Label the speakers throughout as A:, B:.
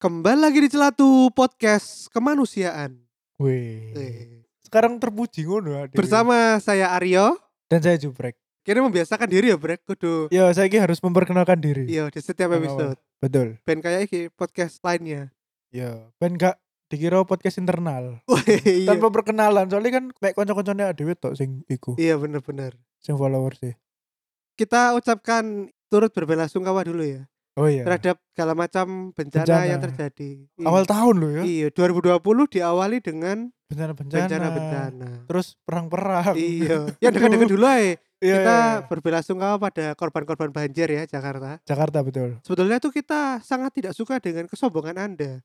A: Kembali lagi di Celatu Podcast Kemanusiaan.
B: Wih.
A: Eh,
B: Sekarang terpuji ngono adik.
A: Bersama saya Aryo.
B: dan saya Jubrek.
A: Kira membiasakan diri ya, Brek. Kudu.
B: Ya, saya ini harus memperkenalkan diri.
A: Iya, di setiap
B: Awal-awal.
A: episode.
B: Betul.
A: Ben kayak iki podcast lainnya.
B: Ya, ben gak dikira podcast internal.
A: Wah, iya.
B: Tanpa perkenalan, soalnya kan kayak kanca-kancane dhewe tok sing iku,
A: Iya, benar-benar.
B: sing followers e. sih.
A: Kita ucapkan turut berbelasungkawa dulu ya
B: Oh iya.
A: terhadap segala macam bencana,
B: Bencana.
A: yang terjadi. Iya.
B: Awal tahun loh ya.
A: Iya, 2020 diawali dengan
B: Bencana-bencana.
A: bencana-bencana.
B: Terus perang-perang.
A: Iya, ya dekat-dekat dulu ae.
B: Iya,
A: Kita
B: iya, iya.
A: berbelasungkawa pada korban-korban banjir ya Jakarta.
B: Jakarta betul.
A: Sebetulnya tuh kita sangat tidak suka dengan kesombongan Anda.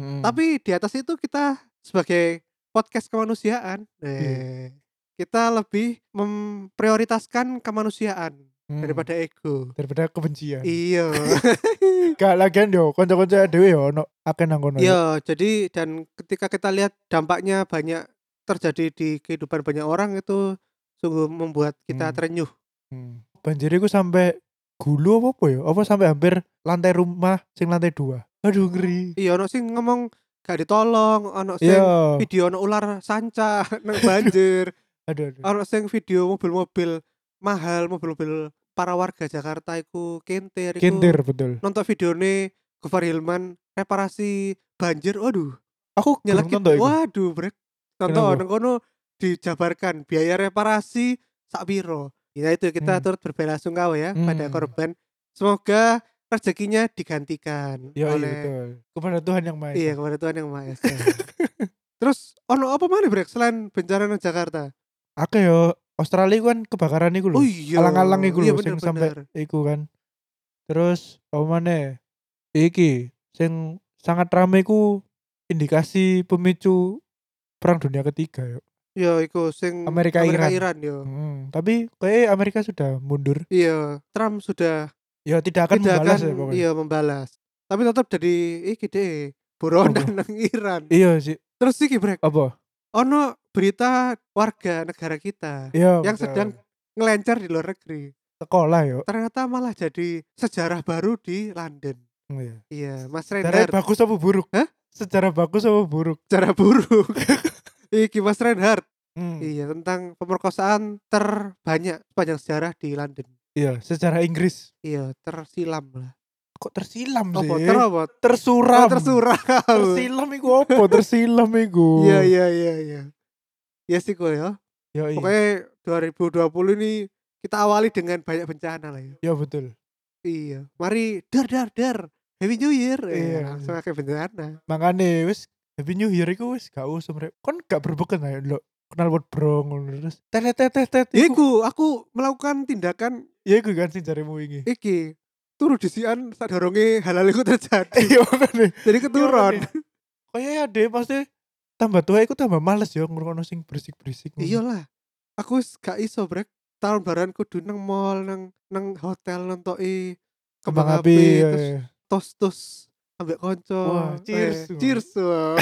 B: Mm.
A: Tapi di atas itu kita sebagai podcast kemanusiaan,
B: Iya.
A: eh, kita lebih memprioritaskan kemanusiaan
B: Mm.
A: daripada ego.
B: daripada kebencian.
A: Iya,
B: Gak lagian yo, kanca-kanca dhewe yo ono akeh nang kono.
A: iya. Jadi dan ketika kita lihat dampaknya banyak terjadi di kehidupan banyak orang itu sungguh membuat kita
B: Hmm.
A: terenyuh.
B: Hmm. Banjir iku sampai gulu apa apa ya? Apa sampai hampir lantai rumah sing lantai dua? Aduh ngeri.
A: Iya, ono sing ngomong gak ditolong, ono sing
B: Iya.
A: video ono ular sanca nang banjir,
B: Aduh aduh.
A: ono sing video mobil-mobil mahal, mobil-mobil para warga Jakarta iku kentir iku.
B: Kintir betul.
A: nonton videone Gofar Hilman reparasi banjir waduh
B: Aku nyelak
A: nyelekit
B: nonton iku.
A: waduh brek
B: Kenapa?
A: nonton nang kono dijabarkan biaya reparasi sak piro ya itu kita
B: Hmm.
A: turut berbelasungkawa ya pada
B: Hmm.
A: korban semoga rezekinya digantikan
B: Ya iya
A: oleh
B: betul. Kepada Tuhan yang maha.
A: iya
B: Esa.
A: kepada Tuhan yang Maha Esa terus ono apa mana brek selain bencana nang Jakarta
B: Akeh yo Australia iku kan kebakaran iku lho.
A: oh iya
B: Alang-alang iku
A: iya
B: lho sing
A: bener
B: sampai iku kan. Terus apa maneh? Iki sing sangat rame iku indikasi pemicu perang dunia ketiga yo.
A: ya iku sing
B: Amerika, Iran.
A: Iran yo
B: Hmm. Tapi kayak Amerika sudah mundur.
A: iya Trump sudah
B: Ya tidak akan
A: tidak
B: membalas
A: akan
B: ya pokoknya.
A: iya membalas tapi tetap jadi iki deh buronan nang Iran
B: Iya sih.
A: terus iki brek
B: Apa?
A: ono berita warga negara kita
B: Iya.
A: yang
B: betul.
A: sedang ngelencer di luar negeri
B: sekolah ya. yo.
A: ternyata malah jadi sejarah baru di London
B: Iya.
A: iya mas
B: Sejarah
A: Reinhardt
B: bagus apa buruk?
A: Hah?
B: Secara bagus apa buruk?
A: sejarah buruk iki mas Reinhardt
B: Hmm.
A: iya tentang pemerkosaan terbanyak sepanjang sejarah di London
B: Iya, secara Inggris.
A: iya tersilam lah
B: Kok tersilam sih?
A: apa ter apa
B: tersuram.
A: tersuram
B: Tersilam iku apa? tersilam iku.
A: iya iya iya iya ya sih gue ya
B: Yo, iya.
A: Pokoknya 2020 ini kita awali dengan banyak bencana lah ya.
B: Yo, betul.
A: Iya. Mari dar dar dar. Happy New Year.
B: Iya.
A: Iya. Langsung akeh bencana.
B: Makane wis Happy New Year iku wis gak usum rek. Kon gak berbeken ayo lho. Kenal word bro ngono terus. Tet tet tet tet.
A: Ya iku aku melakukan tindakan
B: ya iku kan sing jarimu wingi.
A: iki turu disian saat doronge halal iku terjadi.
B: Iya makane.
A: Jadi
B: Iya,
A: keturun.
B: Kaya ya deh pasti tambah tua iku tambah males yo ngrungokno sing berisik-berisik. ngono.
A: Iyalah. Aku wis gak iso brek tahun baran kudu nang mall nang nang hotel nontoki
B: kembang api. iya,
A: terus
B: iya.
A: tos tos ambek konco.
B: Wah, cheers.
A: Eh, cheers. wah.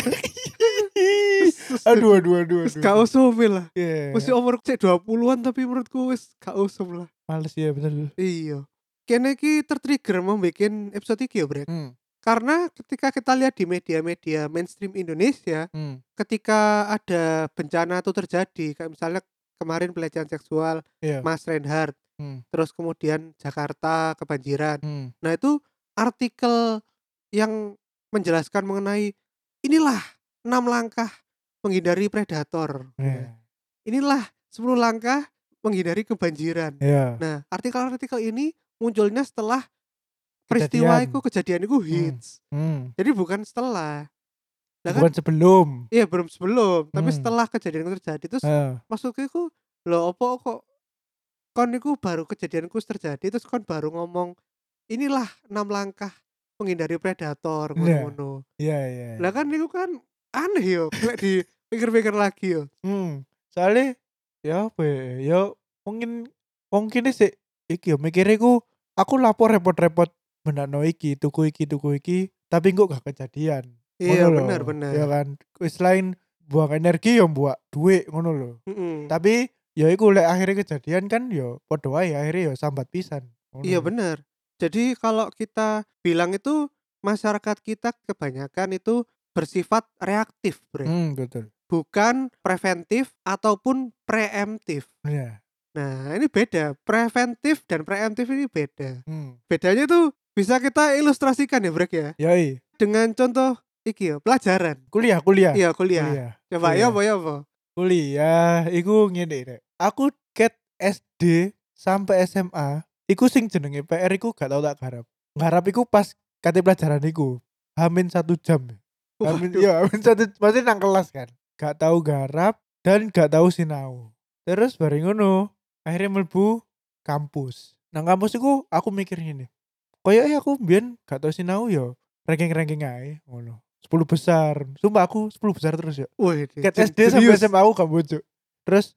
A: Terus-
B: iya, aduh aduh aduh.
A: Wis
B: aduh.
A: gak usum lah.
B: Iya.
A: Masih umur cek 20-an tapi menurutku wis gak usum lah.
B: males ya bener.
A: Iya. Kene iki tertrigger mau bikin episode iki ya, Brek. Karena ketika kita lihat di media-media mainstream Indonesia, ketika ada bencana itu terjadi, kayak misalnya kemarin pelecehan seksual
B: Iya.
A: Mas Reinhardt,
B: Hmm.
A: terus kemudian Jakarta kebanjiran.
B: Hmm.
A: Nah, itu artikel yang menjelaskan mengenai inilah enam langkah menghindari predator.
B: Iya.
A: inilah 10 langkah menghindari kebanjiran.
B: Iya.
A: Nah, artikel-artikel ini munculnya setelah peristiwa
B: Kejadian.
A: itu kejadian itu hits.
B: Hmm.
A: Jadi bukan setelah. Lah kan
B: Bukan sebelum.
A: iya belum sebelum, tapi
B: Hmm.
A: setelah kejadian itu terjadi terus
B: Ah,
A: maksudku iku lho apa kok kon iku baru kejadianku terjadi terus kon baru ngomong inilah enam langkah menghindari predator
B: Iya.
A: ngono-ngono.
B: Iya iya.
A: Lah kan niku kan aneh yo, lek dipikir-pikir lagi yo.
B: Hmm. Soalnya ya apa ya? Ya mungkin wong kene sik iki yo mikire ku aku lapor repot-repot benakno iki, tuku iki, tuku iki, tapi kok gak kejadian.
A: iya
B: Ngono lho.
A: benar benar
B: Ya kan. Wis lain buang energi yo buat duit ngono lho.
A: Mm-mm.
B: Tapi ya iku lek akhirnya kejadian kan yo padha wae akhirnya yo sambat pisan. Ngono
A: iya
B: lho.
A: benar jadi kalau kita bilang itu masyarakat kita kebanyakan itu bersifat reaktif Bre.
B: Hmm, betul.
A: bukan preventif ataupun preemptif
B: Iya.
A: nah ini beda preventif dan preemptif ini beda
B: Hmm.
A: bedanya tuh bisa kita ilustrasikan ya Brek ya
B: Yoi,
A: dengan contoh iki ya pelajaran
B: kuliah, kuliah.
A: iya kuliah
B: Eh, Kuliah.
A: coba
B: kuliah.
A: ya apa ya apa
B: Kuliah iku ngene rek. Aku ket SD sampai SMA, iku sing jenenge PR iku gak tau tak garap. Garap iku pas kate pelajaran iku. Hamin satu jam. Hamin,
A: Waduh.
B: ya, hamin satu masih nang kelas kan. Gak tau garap dan gak tau sinau. Terus bareng ngono, akhirnya melbu kampus. Nang kampus iku aku mikir ngene. Koyoke aku biyen gak tau sinau ya ranking-ranking ae ngono. 10 besar. Sumpah aku 10 besar terus ya.
A: Wih,
B: Ket
A: jen-
B: SD sampai
A: jenius.
B: SMA aku gak bojo. Terus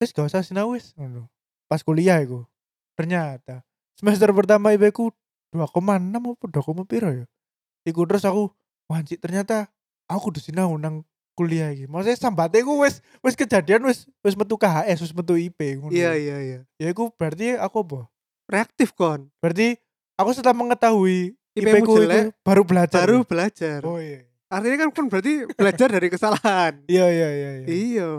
B: wis gak usah sinau wis ngono. Pas kuliah iku. Ternyata semester pertama IB ku 2,6 apa 2, piro ya. Iku terus aku wanci ternyata aku kudu sinau nang kuliah iki. Maksudnya sambate ku wis wis kejadian wis wis metu KHS wis metu IP ngono.
A: iya iya iya
B: Ya iku berarti aku apa?
A: reaktif kon
B: Berarti aku setelah mengetahui IP,
A: IP-mu
B: ku itu
A: jelek,
B: baru belajar.
A: baru belajar
B: Oh iya.
A: artinya kan kon berarti belajar dari kesalahan
B: Iya iya iya iya.
A: iya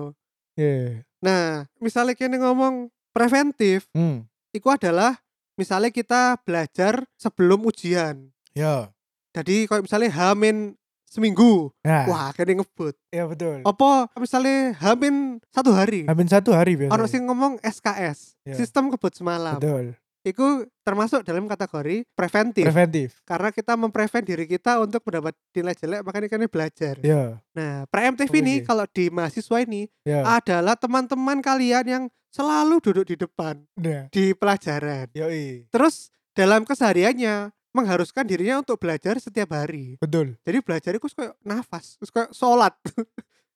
B: Iya.
A: nah misalnya kini ngomong preventif
B: Hmm.
A: itu adalah misalnya kita belajar sebelum ujian
B: Ya.
A: jadi kalau misalnya hamin seminggu
B: Nah,
A: wah kini ngebut
B: ya betul.
A: apa misalnya hamin satu hari
B: Hamin satu hari biasanya.
A: orang sing ngomong SKS
B: Iya.
A: sistem kebut semalam
B: Betul.
A: itu termasuk dalam kategori preventif
B: Preventif.
A: karena kita memprevent diri kita untuk mendapat nilai jelek makanya kan belajar
B: Ya.
A: nah preemptif
B: Oh,
A: ini
B: iya.
A: kalau di mahasiswa ini
B: Ya.
A: adalah teman-teman kalian yang selalu duduk di depan
B: Nah.
A: di pelajaran
B: Iya. Yoi.
A: terus dalam kesehariannya mengharuskan dirinya untuk belajar setiap hari
B: Betul.
A: jadi belajar itu kayak nafas terus kayak sholat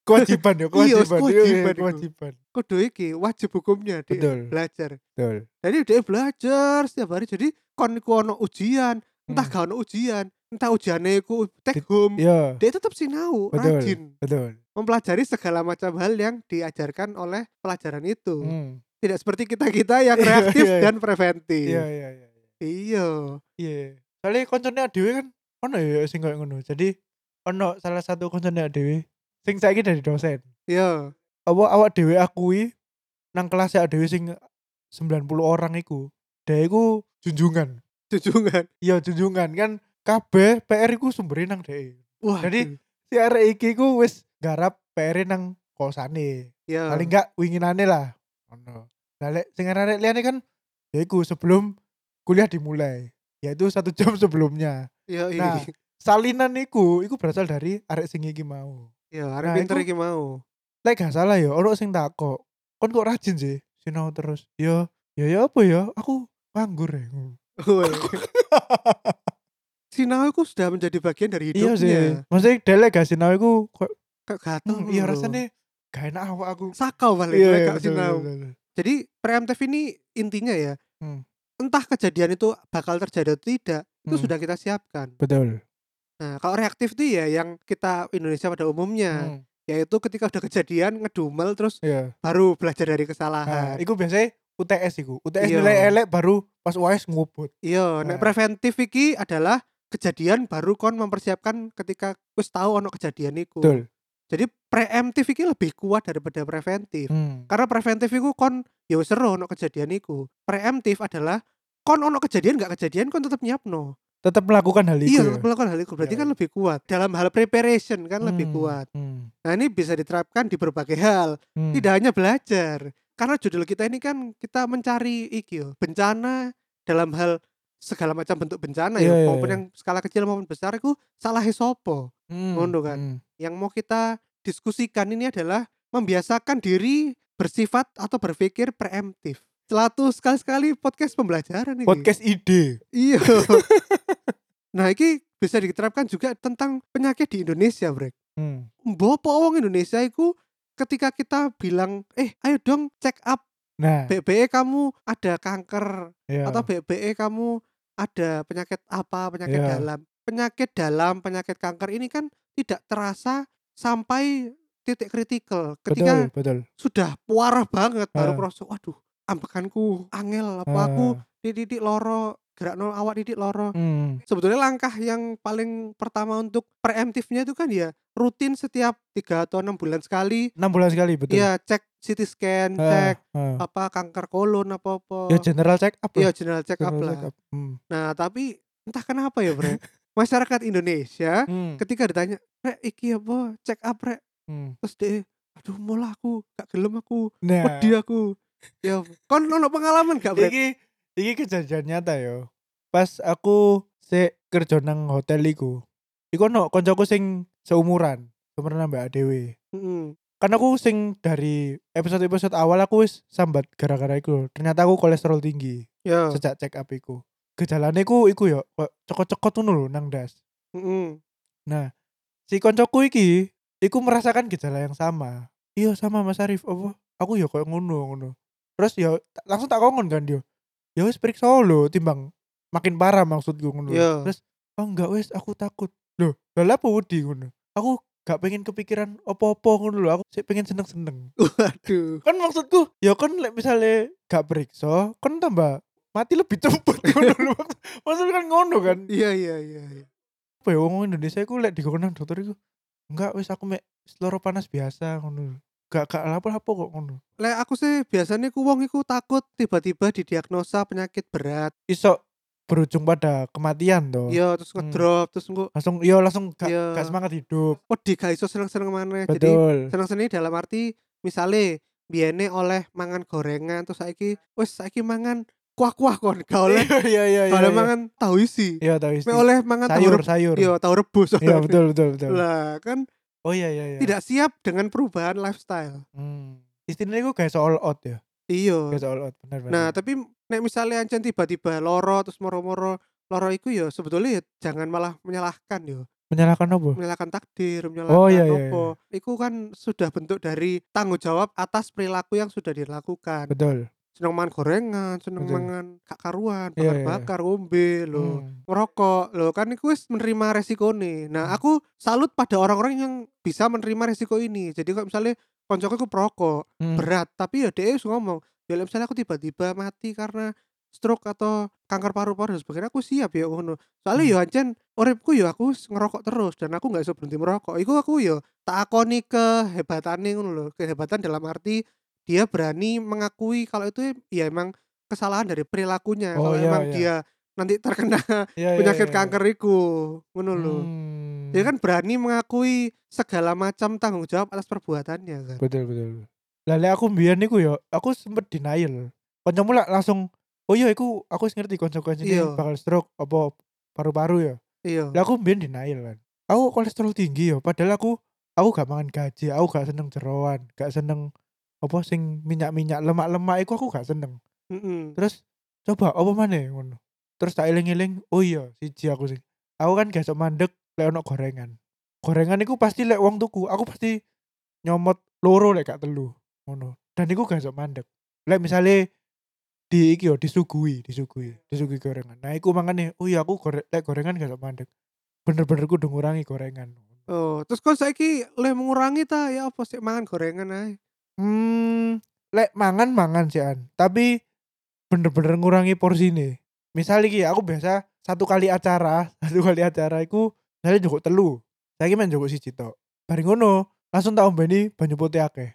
B: Kewajiban ya,
A: Iya,
B: kewajiban. Yoi,
A: kewajiban itu. Iya.
B: kewajiban.
A: kudu iki wajib hukumnya dia
B: Betul.
A: belajar
B: Betul.
A: jadi dia belajar setiap hari jadi kon iku ono ujian entah
B: Hmm.
A: gak ono ujian entah ujiannya iku take home
B: Ya,
A: dia tetap sinau
B: Betul.
A: rajin
B: betul.
A: mempelajari segala macam hal yang diajarkan oleh pelajaran itu
B: Hmm.
A: tidak seperti kita kita yang
B: Iya,
A: reaktif
B: iya.
A: dan preventif
B: Iya, iya,
A: iya
B: iya. Iya. Soalnya koncone adewe kan ono ya sing koyo ngono. Jadi ono salah satu koncone adewe sing saiki dari dosen.
A: iya
B: Apa awak dhewe akui nang kelas adewe sing 90 orang iku. Dia iku junjungan.
A: jujungan
B: Iya, junjungan kan kabeh PR iku sumbere nang E. dhek.
A: wah
B: Jadi, si arek iki ku wis garap PR nang kosane.
A: ya
B: Paling enggak winginane lah. Ono. Lah lek sing arek liyane kan yaiku sebelum kuliah dimulai, yaitu satu jam sebelumnya.
A: ya ini
B: Nah. Salinan iku iku berasal dari arek sing iki mau.
A: ya
B: Nah,
A: arek pinter iki
B: itu-
A: mau
B: Lek gak salah ya, ono sing takok, "Kon kok rajin sih?" Sinau terus. Yo, yo yo apa ya? Aku nganggur ya.
A: Woi. sinau itu sudah menjadi bagian dari
B: iya
A: hidupnya
B: sih. Maksudnya delek gak sinau iku kok
A: kok gatel
B: hmm, iya
A: lho.
B: rasanya gak enak awak aku. Iya,
A: sakau paling lek gak
B: betul,
A: sinau
B: betul, betul.
A: jadi preemptif ini intinya ya
B: Hmm.
A: entah kejadian itu bakal terjadi atau tidak itu
B: Hmm.
A: sudah kita siapkan
B: Betul.
A: nah kalau reaktif itu ya yang kita Indonesia pada umumnya
B: Hmm.
A: yaitu ketika udah kejadian ngedumel terus
B: Iya.
A: baru belajar dari
B: Nah,
A: kesalahan
B: iku biasanya UTS iku. UTS
A: Iya.
B: nilai elek baru pas UAS ngubut.
A: iya nek
B: Nah.
A: preventif iki adalah kejadian baru kon mempersiapkan ketika wis tahu ono kejadian itu jadi preemptif iki lebih kuat daripada preventif
B: Hmm.
A: karena preventif iku kon ya wis ero ono kejadian iku preemptif adalah kon ono kejadian nggak kejadian kon tetap nyiapno
B: Tetap melakukan hal itu.
A: iya
B: ya?
A: tetap melakukan hal itu berarti
B: Iya,
A: kan lebih kuat dalam hal preparation kan lebih
B: Hmm,
A: kuat
B: hmm,
A: nah ini bisa diterapkan di berbagai hal
B: hmm.
A: tidak hanya belajar karena judul kita ini kan kita mencari iki yo, bencana dalam hal segala macam bentuk bencana
B: Iya,
A: ya
B: iya,
A: maupun
B: iya.
A: yang skala kecil maupun besar itu salah sopo
B: Hmm,
A: ngono kan.
B: hmm.
A: yang mau kita diskusikan ini adalah membiasakan diri bersifat atau berpikir preemptif. Selatu sekali-sekali podcast pembelajaran ini.
B: Podcast ide.
A: Iya. nah, ini bisa diterapkan juga tentang penyakit di Indonesia, Brek.
B: Hmm.
A: Mbopo wong Indonesia itu ketika kita bilang, "Eh, ayo dong check up
B: Nah,
A: BBE kamu ada kanker
B: ya.
A: atau BBE kamu ada penyakit apa penyakit
B: Iya.
A: dalam penyakit dalam penyakit kanker ini kan tidak terasa sampai titik kritikal ketika
B: betul, betul.
A: sudah puara banget baru
B: Ah.
A: kerasa waduh ambekanku angel apa aku
B: Ya.
A: dididik loro gerak nol awak didik loro
B: Ah, hmm,
A: sebetulnya langkah yang paling pertama untuk preemptifnya itu kan ya rutin setiap tiga atau enam bulan sekali
B: enam bulan sekali betul.
A: ya cek CT scan
B: Ah,
A: cek
B: ah.
A: apa kanker kolon apa apa
B: Ya general check up.
A: Iya
B: lah,
A: general check up
B: general
A: lah.
B: check up. Hmm.
A: Nah tapi entah kenapa ya bre masyarakat Indonesia
B: Hmm,
A: ketika ditanya rek iki apa check up rek
B: hmm.
A: terus dia aduh mola aku gak gelem aku
B: Nah,
A: wedi aku ya kon ono pengalaman gak bre
B: iki iki kejadian nyata yo. Pas aku se kerja nang hotel iku. Iku ono koncoku sing seumuran, seumuran Mbak Dewi.
A: Mm-mm.
B: Karena aku sing dari episode-episode awal aku wis sambat gara-gara iku. Ternyata aku kolesterol tinggi
A: ya
B: sejak check up iku. Gejalane iku iku yo kok cekot-cekot ngono lho nang das.
A: mm-mm.
B: Nah, si koncoku iki iku merasakan gejala yang sama. Iya sama Mas Arif. Apa? Aku ya koyo ngono ngono. Terus ya ta- langsung tak kongon kan dia. Ya wis periksa lho timbang makin parah maksudku ngono. lho.
A: Iya.
B: Terus oh enggak wis aku takut. Loh, lha apa wedi ngono. Aku gak pengen kepikiran opo-opo ngono lho. Aku sih pengen seneng-seneng.
A: waduh
B: Kan maksudku ya kan lek misalnya gak periksa kan tambah mati lebih cepet ngono lho. Maksudnya kan ngono kan
A: iya iya iya iya.
B: apa ya wong Indonesia iku lek dikonang dokter iku enggak wis aku mek seloro panas biasa ngono gak gak apa-apa kok ngono
A: Lek aku sih biasanya ku wong iku takut tiba-tiba didiagnosa penyakit berat.
B: iso berujung pada kematian toh
A: Iya terus
B: Hmm.
A: ngedrop terus engko
B: langsung yo langsung gak,
A: Iya.
B: gak semangat hidup
A: wedi gak iso seneng-seneng maneh. Jadi
B: betul
A: seneng seni dalam arti misalnya biene oleh mangan gorengan terus saiki wes saiki mangan kuah-kuah kon gak oleh
B: iya iya iya
A: gak
B: iya
A: oleh
B: iya.
A: mangan tahu isi
B: iya tahu isi
A: Mek oleh mangan tahu
B: sayur
A: rebus
B: sayur
A: iya tahu rebus
B: iya betul betul betul
A: lah kan
B: oh iya iya iya
A: tidak siap dengan perubahan lifestyle
B: hmm. istilahnya iku gak iso all out ya
A: iya
B: gak iso all out bener bener
A: nah tapi nek misalnya ancen tiba-tiba loro terus moro-moro loro iku ya sebetulnya ya jangan malah menyalahkan yo
B: menyalahkan apa
A: menyalahkan takdir menyalahkan
B: Oh, iya, iya,
A: apa iku kan sudah bentuk dari tanggung jawab atas perilaku yang sudah dilakukan
B: betul
A: seneng mangan gorengan, seneng
B: Betul.
A: mangan kak karuan,
B: Iya, iya, iya.
A: bakar-bakar, ngombe lho.
B: Hmm.
A: Ngerokok lho, kan iku wis menerima resiko nih. Nah,
B: Hmm.
A: aku salut pada orang-orang yang bisa menerima resiko ini. Jadi kalau misalnya koncoku aku perokok,
B: Hmm.
A: berat, tapi ya dia wis ngomong, ya lah, misalnya aku tiba-tiba mati karena stroke atau kanker paru-paru dan sebagainya aku siap ya ngono. Soalnya
B: Hmm.
A: yo ancen uripku yo aku wis ngerokok terus dan aku nggak iso berhenti merokok. Iku aku yo tak akoni kehebatannya ngono lho. Kehebatan dalam arti dia berani mengakui kalau itu ya emang kesalahan dari perilakunya.
B: Oh,
A: kalau
B: iya,
A: emang
B: iya.
A: dia nanti terkena
B: Iya, iya,
A: penyakit
B: iya, iya.
A: kanker iku ngono lho.
B: Hmm.
A: Dia kan berani mengakui segala macam tanggung jawab atas perbuatannya kan.
B: betul betul lah lek aku mbiyen niku yo aku sempet denial kancamu lah langsung oh iya iku aku wis
A: Iya.
B: ngerti konsekuensinya bakal stroke apa paru-paru ya
A: Iya.
B: lah aku mbiyen denial kan aku kolesterol tinggi yo padahal aku aku gak mangan gaji aku gak seneng jeroan gak seneng apa sing minyak-minyak lemak-lemak iku aku gak seneng
A: Mm-mm.
B: terus coba apa maneh ngono terus tak eling-eling oh iya siji aku sing aku kan gak sok mandek lek ono gorengan gorengan iku pasti lek wong tuku aku pasti nyomot loro lek gak telu ngono dan iku gak sok mandek lek misale di iki yo disuguhi disuguhi disuguhi gorengan nah iku mangane oh iya aku gore, lek gorengan gak sok mandek bener-bener kudu ngurangi gorengan
A: Oh, terus kon saiki le mengurangi ta ya apa sih mangan gorengan ae.
B: Hmm, lek mangan mangan sih an. Tapi bener-bener ngurangi porsi nih. Misal iki aku biasa satu kali acara, satu kali acara iku misalnya cukup telu. Saya main cukup siji tok. Bari ngono, langsung tak ombeni banyu putih akeh.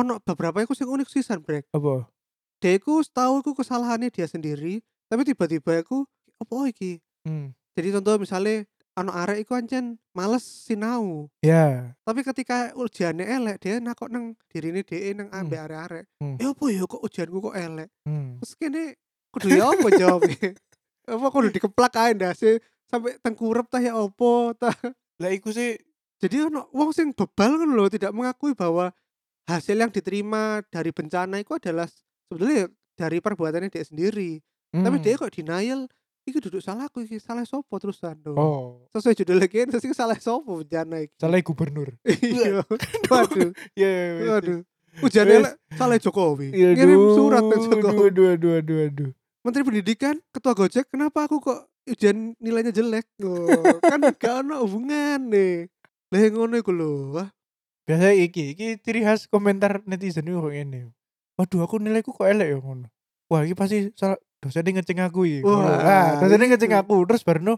A: Ono beberapa iku sing unik sisan, Brek.
B: Apa?
A: Dia iku tahu iku kesalahannya dia sendiri, tapi tiba-tiba iku opo iki?
B: Hmm.
A: Jadi contoh misalnya ono arek iku ancen males sinau,
B: Ya,
A: tapi ketika ujiannya elek dia nakok nang dirine dhewe nang e, ambek arek-arek.
B: Hmm.
A: Ya apa ya kok ujianku kok elek?
B: hmm.
A: Terus kene kudu ya apa jawabnya? apa kudu dikeplak ae ndase sampai tengkurep ta ya apa ta?
B: Lah iku sih
A: jadi ono wong sing bebal kan lho tidak mengakui bahwa hasil yang diterima dari bencana itu adalah sebetulnya ya dari perbuatannya dia sendiri
B: Hmm.
A: tapi dia kok denial iki duduk salah aku iki salah sopo terusan lho.
B: Oh,
A: sesuai judul lagi terus iki salah sopo bencana iki
B: salah gubernur.
A: iya waduh
B: Iya, iya, iya.
A: waduh Hujan
B: Wes.
A: elek salah Jokowi. Kirim surat ke Jokowi.
B: Iya, Aduh, aduh, aduh, aduh, aduh.
A: Menteri Pendidikan, Ketua Gojek, kenapa aku kok ujian nilainya jelek? Loh, kan gak ono hubungan nih. Lah yang ngono iku lho. Wah,
B: Biasanya iki, iki ciri khas komentar netizen itu kok ini. Waduh, aku nilaiku kok elek ya ngono. Wah, iki pasti salah dosennya ngeceng aku iki.
A: Wah,
B: Wah, dosennya ngeceng
A: itu.
B: aku. Terus barno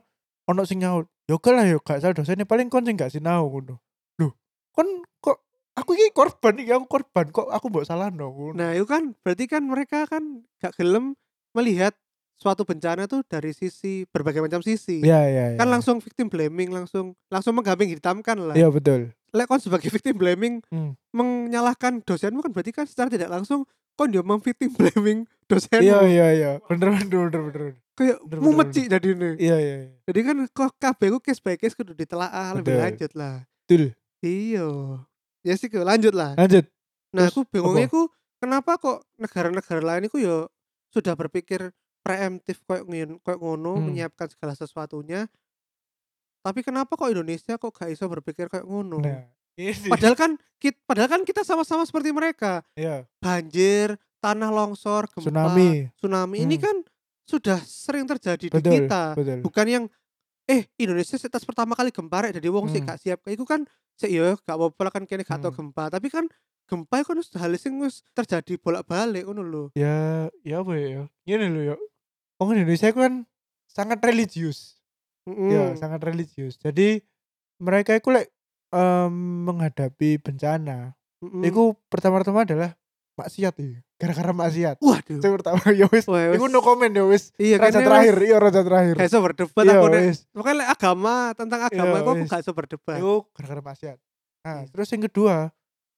B: ono sing nyaut. Yo gak lah yo gak salah dosennya paling kon sing gak sinau ngono. Loh, kon kok aku iki korban iki aku korban kok aku mbok salah ngono.
A: Nah, itu kan berarti kan mereka kan gak gelem melihat suatu bencana tuh dari sisi berbagai macam sisi.
B: Ya, ya, ya.
A: Kan langsung victim blaming, langsung langsung menggambing hitamkan lah.
B: Iya, betul.
A: Lek kon sebagai victim blaming
B: Hmm.
A: menyalahkan dosenmu kan berarti kan secara tidak langsung kon dia memvictim blaming dosenmu.
B: Iya, iya, iya. Bener, bener, bener, bener. bener.
A: Kayak
B: bener, bener,
A: mumet sih jadi ini.
B: Iya, iya, iya.
A: Jadi kan kok kabeh ku case by case kudu ditelaah lebih
B: Betul.
A: lanjut lah.
B: Betul.
A: Iya. Ya sih Ki, lanjut lah.
B: Lanjut.
A: Nah,
B: Terus
A: aku bingungnya aku kenapa kok negara-negara lain itu ya sudah berpikir preemptif kayak ngin- kayak ngono
B: Hmm.
A: menyiapkan segala sesuatunya. Tapi kenapa kok Indonesia kok gak iso berpikir kayak ngono?
B: Nah, ini.
A: Padahal kan kita, padahal kan kita sama-sama seperti mereka.
B: Iya,
A: Banjir, tanah longsor, gempa, tsunami,
B: tsunami.
A: ini
B: Hmm.
A: kan sudah sering terjadi di
B: Betul,
A: kita.
B: betul.
A: Bukan yang eh Indonesia setas pertama kali gempa rek jadi wong sih
B: Hmm.
A: gak siap. Iku kan sik yo gak apa-apa lah kan kene gak tau
B: Hmm.
A: gempa, tapi kan gempa itu kan wis hal sing wis terjadi bolak-balik ngono lho.
B: ya ya apa ya gini loh ya orang Indonesia itu kan sangat religius
A: Mm-mm.
B: ya sangat religius jadi mereka itu like, em, menghadapi bencana
A: Mm-mm.
B: itu pertama-tama adalah maksiat ya gara-gara maksiat
A: waduh.
B: itu pertama ya wis
A: Wah, wes.
B: itu no comment ya wis
A: Iya
B: raja
A: kene
B: terakhir
A: wes
B: iya raja terakhir
A: Gak iso berdebat
B: iya
A: aku nek.
B: wis
A: Pokoknya lek agama tentang agama
B: Iya,
A: iku aku
B: wis.
A: gak iso berdebat.
B: itu gara-gara maksiat nah
A: Iya.
B: terus yang kedua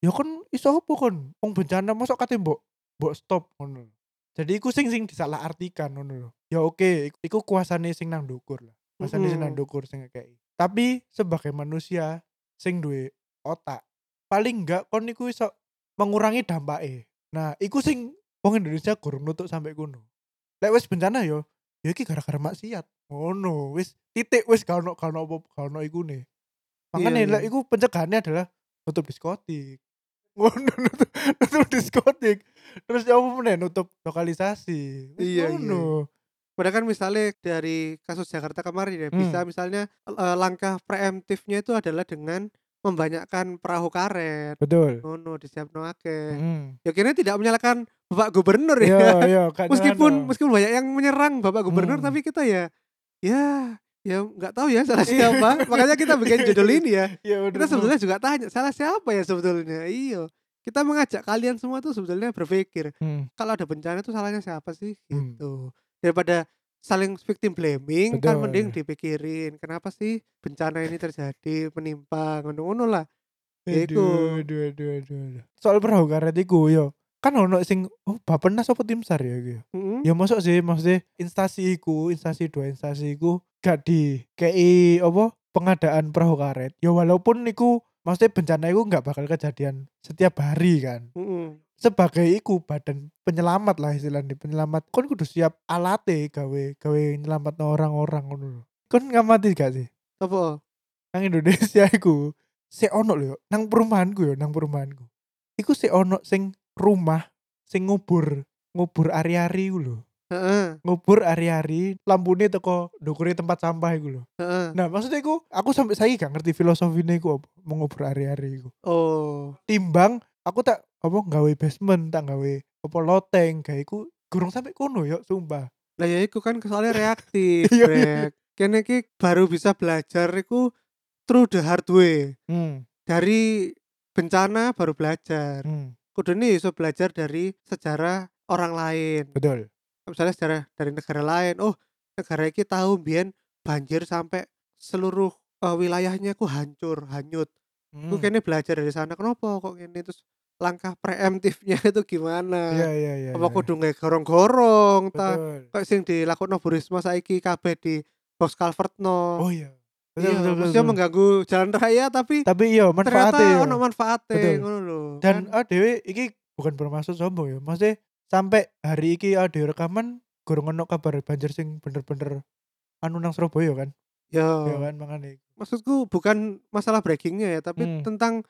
B: ya kan iso apa kan Wong bencana masuk kate mbok mbok stop ngono lho. jadi iku sing sing disalah artikan ngono lho. ya oke iku- iku kuasane sing nang dukur lah kuasane sing nang
A: Mm-mm.
B: dukur sing ngekeki tapi sebagai manusia sing duwe otak paling enggak kon iku iso mengurangi dampake nah iku sing wong Indonesia kurang nutuk sampai kuno lek wis bencana yo ya iki gara-gara maksiat ngono wis titik wis gak ono gak ono apa gak ono iku nih makanya
A: Iya,
B: lek
A: iya.
B: iku pencegahannya adalah nutup diskotik ngono nutup, nutup diskotik terus ya apa meneh nutup lokalisasi Wis
A: Iya, iya,
B: ngono
A: Padahal kan misalnya dari kasus Jakarta kemarin ya
B: Hmm.
A: bisa misalnya eh, langkah preemptifnya itu adalah dengan membanyakkan perahu karet.
B: betul
A: Ngono disiapno akeh.
B: Mm.
A: Ya kira tidak menyalahkan Bapak Gubernur ya.
B: iya iya gak
A: meskipun
B: nyelano.
A: meskipun banyak yang menyerang bapak gubernur
B: Hmm.
A: tapi kita ya ya ya nggak tahu ya salah
B: Iya.
A: siapa makanya kita bikin judul ini ya
B: Iya, bener.
A: kita sebetulnya juga tanya salah siapa ya sebetulnya iyo kita mengajak kalian semua tuh sebetulnya berpikir
B: Mm.
A: kalau ada bencana tuh salahnya siapa sih
B: Hmm.
A: gitu daripada saling victim blaming kan
B: Betul.
A: mending dipikirin kenapa sih bencana ini terjadi menimpa ngono-ngono lah Iku.
B: Aduh, aduh, aduh, aduh, aduh. Soal perahu karet iku yo. Kan ono sing oh Bapenas apa tim SAR ya iki?
A: Mm-mm.
B: Ya masuk sih maksudnya instasi iku, instasi dua instasi iku gak di KI apa pengadaan perahu karet. Ya walaupun iku maksudnya bencana iku gak bakal kejadian setiap hari kan.
A: Mm-mm.
B: Sebagai iku badan penyelamat lah istilahnya penyelamat. Kon kudu siap alate gawe gawe nyelamat orang-orang ngono lho. Kon ngamati gak sih?
A: apa
B: nang Indonesia iku sik ono lho yo, nang perumahanku yo nang perumahanku iku sik ono sing rumah sing ngubur ngubur ari-ari iku lho
A: Heeh,
B: ngubur ari-ari lampune teko ndukure tempat sampah iku lho
A: heeh.
B: nah maksudnya iku aku sampai saiki gak ngerti filosofine iku apa mengubur ari-ari iku
A: oh
B: timbang aku tak apa nggawe basement tak nggawe apa loteng gawe iku gurung sampai kono yo sumpah
A: Lah ya iku kan soalnya reaktif,
B: Iya, iya.
A: Brek. Kene iki baru bisa belajar iku through the hard way.
B: hmm.
A: Dari bencana baru belajar.
B: hmm,
A: Kudune iso belajar dari sejarah orang lain.
B: betul
A: Misalnya sejarah dari negara lain. Oh, negara iki tahu biyen banjir sampai seluruh eh, wilayahnya ku hancur, hanyut. Ku
B: Hmm.
A: kene belajar dari sana. Kenapa kok kene terus langkah preemptifnya itu gimana?
B: iya iya iya
A: eh, Apa
B: iya.
A: kudu nggak gorong-gorong ta?
B: betul
A: kok sing dilakokno Bu Risma saiki kabeh di box culvert no.
B: oh iya
A: iya, maksudnya mengganggu jalan raya tapi
B: tapi iya
A: ternyata
B: manfaatnya ya.
A: ono manfaate
B: Betul.
A: ngono lho.
B: dan
A: kan?
B: ah dhewe iki bukan bermaksud sombong ya maksudnya sampai hari iki ada rekaman gorong ono kabar banjir sing bener-bener anu nang Surabaya kan
A: ya
B: ya kan makanya
A: maksudku bukan masalah breakingnya ya, tapi
B: Hmm.
A: tentang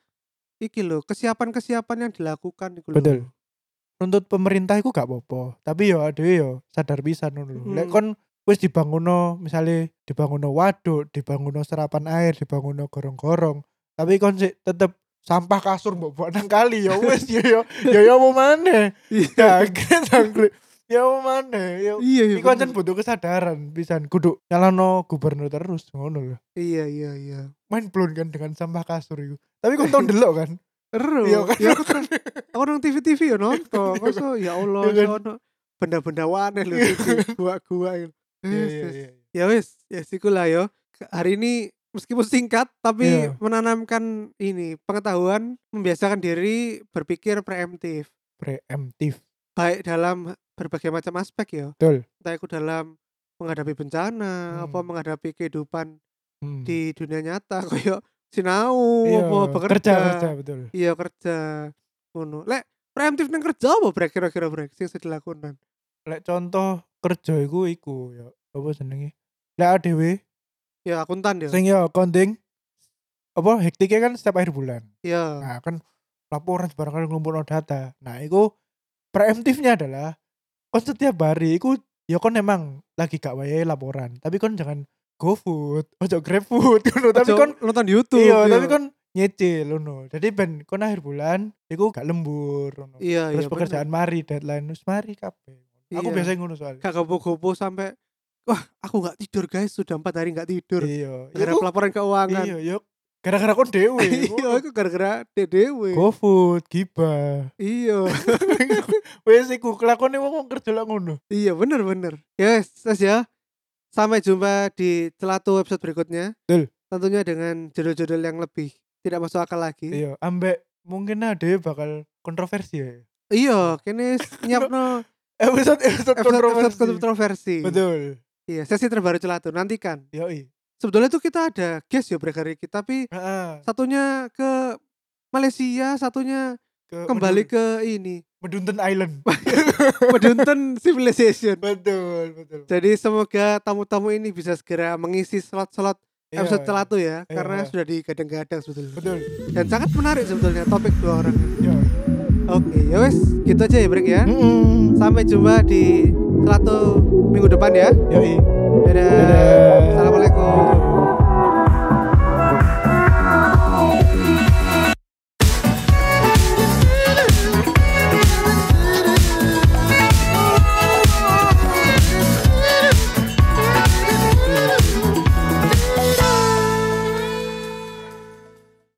A: iki lho, kesiapan-kesiapan yang dilakukan iku lho.
B: Betul. Nuntut pemerintah iku gak apa-apa, tapi yo aduh yo sadar pisan ngono lho.
A: Mm.
B: Lek kon wis dibangunno, misale dibangunno waduk, dibangunno serapan air, dibangunno gorong-gorong, tapi kon sik tetep sampah kasur mbok buat nang kali yo wis yo yo yo yo mau maneh.
A: Iya.
B: Kaget aku. Yo mau maneh. Yo
A: Iya, iya.
B: Iku ancen
A: bener.
B: butuh kesadaran pisan kudu nyalano gubernur terus ngono lho.
A: Iya, iya, iya.
B: Main blown kan dengan sampah kasur iku. Tapi kon tau ndelok kan.
A: Ero.
B: Iya, kan?
A: Ya aku kan aku nang TV-TV ya nonton. Masa ya Allah,
B: Iya, kan?
A: ya ono benda-benda aneh lho
B: Iya,
A: iki, gua-gua iku. Yes, yes. Ya wis, ya sikulah yo. Ke- Hari ini meskipun singkat tapi
B: Iya.
A: menanamkan ini pengetahuan, membiasakan diri berpikir preemptif
B: Preemptif.
A: baik dalam berbagai macam aspek ya.
B: Betul.
A: Entah itu dalam menghadapi bencana, apa
B: Hmm.
A: menghadapi kehidupan
B: Hmm.
A: di dunia nyata koyo sinau,
B: Iya,
A: apa bekerja.
B: kerja kerja betul.
A: Iya kerja. Ngono. Lek preemptif nang kerja apa brek kira-kira brek sing sudah dilakukan.
B: Lek contoh kerja iku iku ya apa jenenge? Lek dhewe
A: Ya akuntan ya.
B: sing yo konting apa hektiknya kan setiap akhir bulan.
A: Iya.
B: Nah, kan laporan sebarang kali ngumpulno data. Nah, itu preemptifnya adalah kon setiap hari iku ya kon emang lagi gak wayahe laporan, tapi kon jangan GoFood, ojo GrabFood ngono. tapi
A: Ojo
B: kon
A: nonton YouTube.
B: iya,
A: ya.
B: tapi kon nyicil ngono. Jadi ben kon akhir bulan iku gak lembur ngono.
A: iya
B: Terus
A: iya.
B: pekerjaan mari deadline wis mari kabeh. Aku
A: Iya.
B: biasa ngono soalnya.
A: gak gopo-gopo sampai wah aku nggak tidur guys sudah empat hari nggak tidur
B: Iya,
A: gara-gara
B: iku-
A: pelaporan keuangan.
B: Iya, Oh. yo. Gara-gara kon dhewe.
A: Iya,
B: ngono.
A: aku gara-gara dewe.
B: GoFood, gibah.
A: Iya,
B: Wes iku kelakone wong wong kerja lak ngono.
A: iya bener-bener. Yes, yes ya. Sampai jumpa di celatu episode berikutnya.
B: Betul.
A: Tentunya dengan judul-judul yang lebih tidak masuk akal lagi.
B: Iya, ambek mungkin ada ya bakal kontroversi ya.
A: Iya, kene nyiapno
B: Episode
A: episode
B: episode kontroversi.
A: kontroversi.
B: Betul.
A: Iya, sesi terbaru celatu nantikan.
B: Yo i.
A: Sebetulnya tuh kita ada guest ya break hari ini, tapi satunya ke Malaysia, satunya kembali ke ini,
B: Medunten Island.
A: Bedunten Civilization.
B: betul, betul.
A: Jadi semoga tamu-tamu ini bisa segera mengisi slot-slot
B: Iya.
A: episode celatu ya,
B: Iya.
A: karena sudah digadang-gadang sebetulnya.
B: Betul.
A: Dan sangat menarik sebetulnya topik dua orang. ini.
B: Yo.
A: Oke, ya wes, gitu aja ya break ya.
B: Hmm? Mm-mm.
A: Sampai jumpa di celatu minggu depan ya.
B: Yo i.
A: Dadah.
B: Dadah.
A: Assalamualaikum.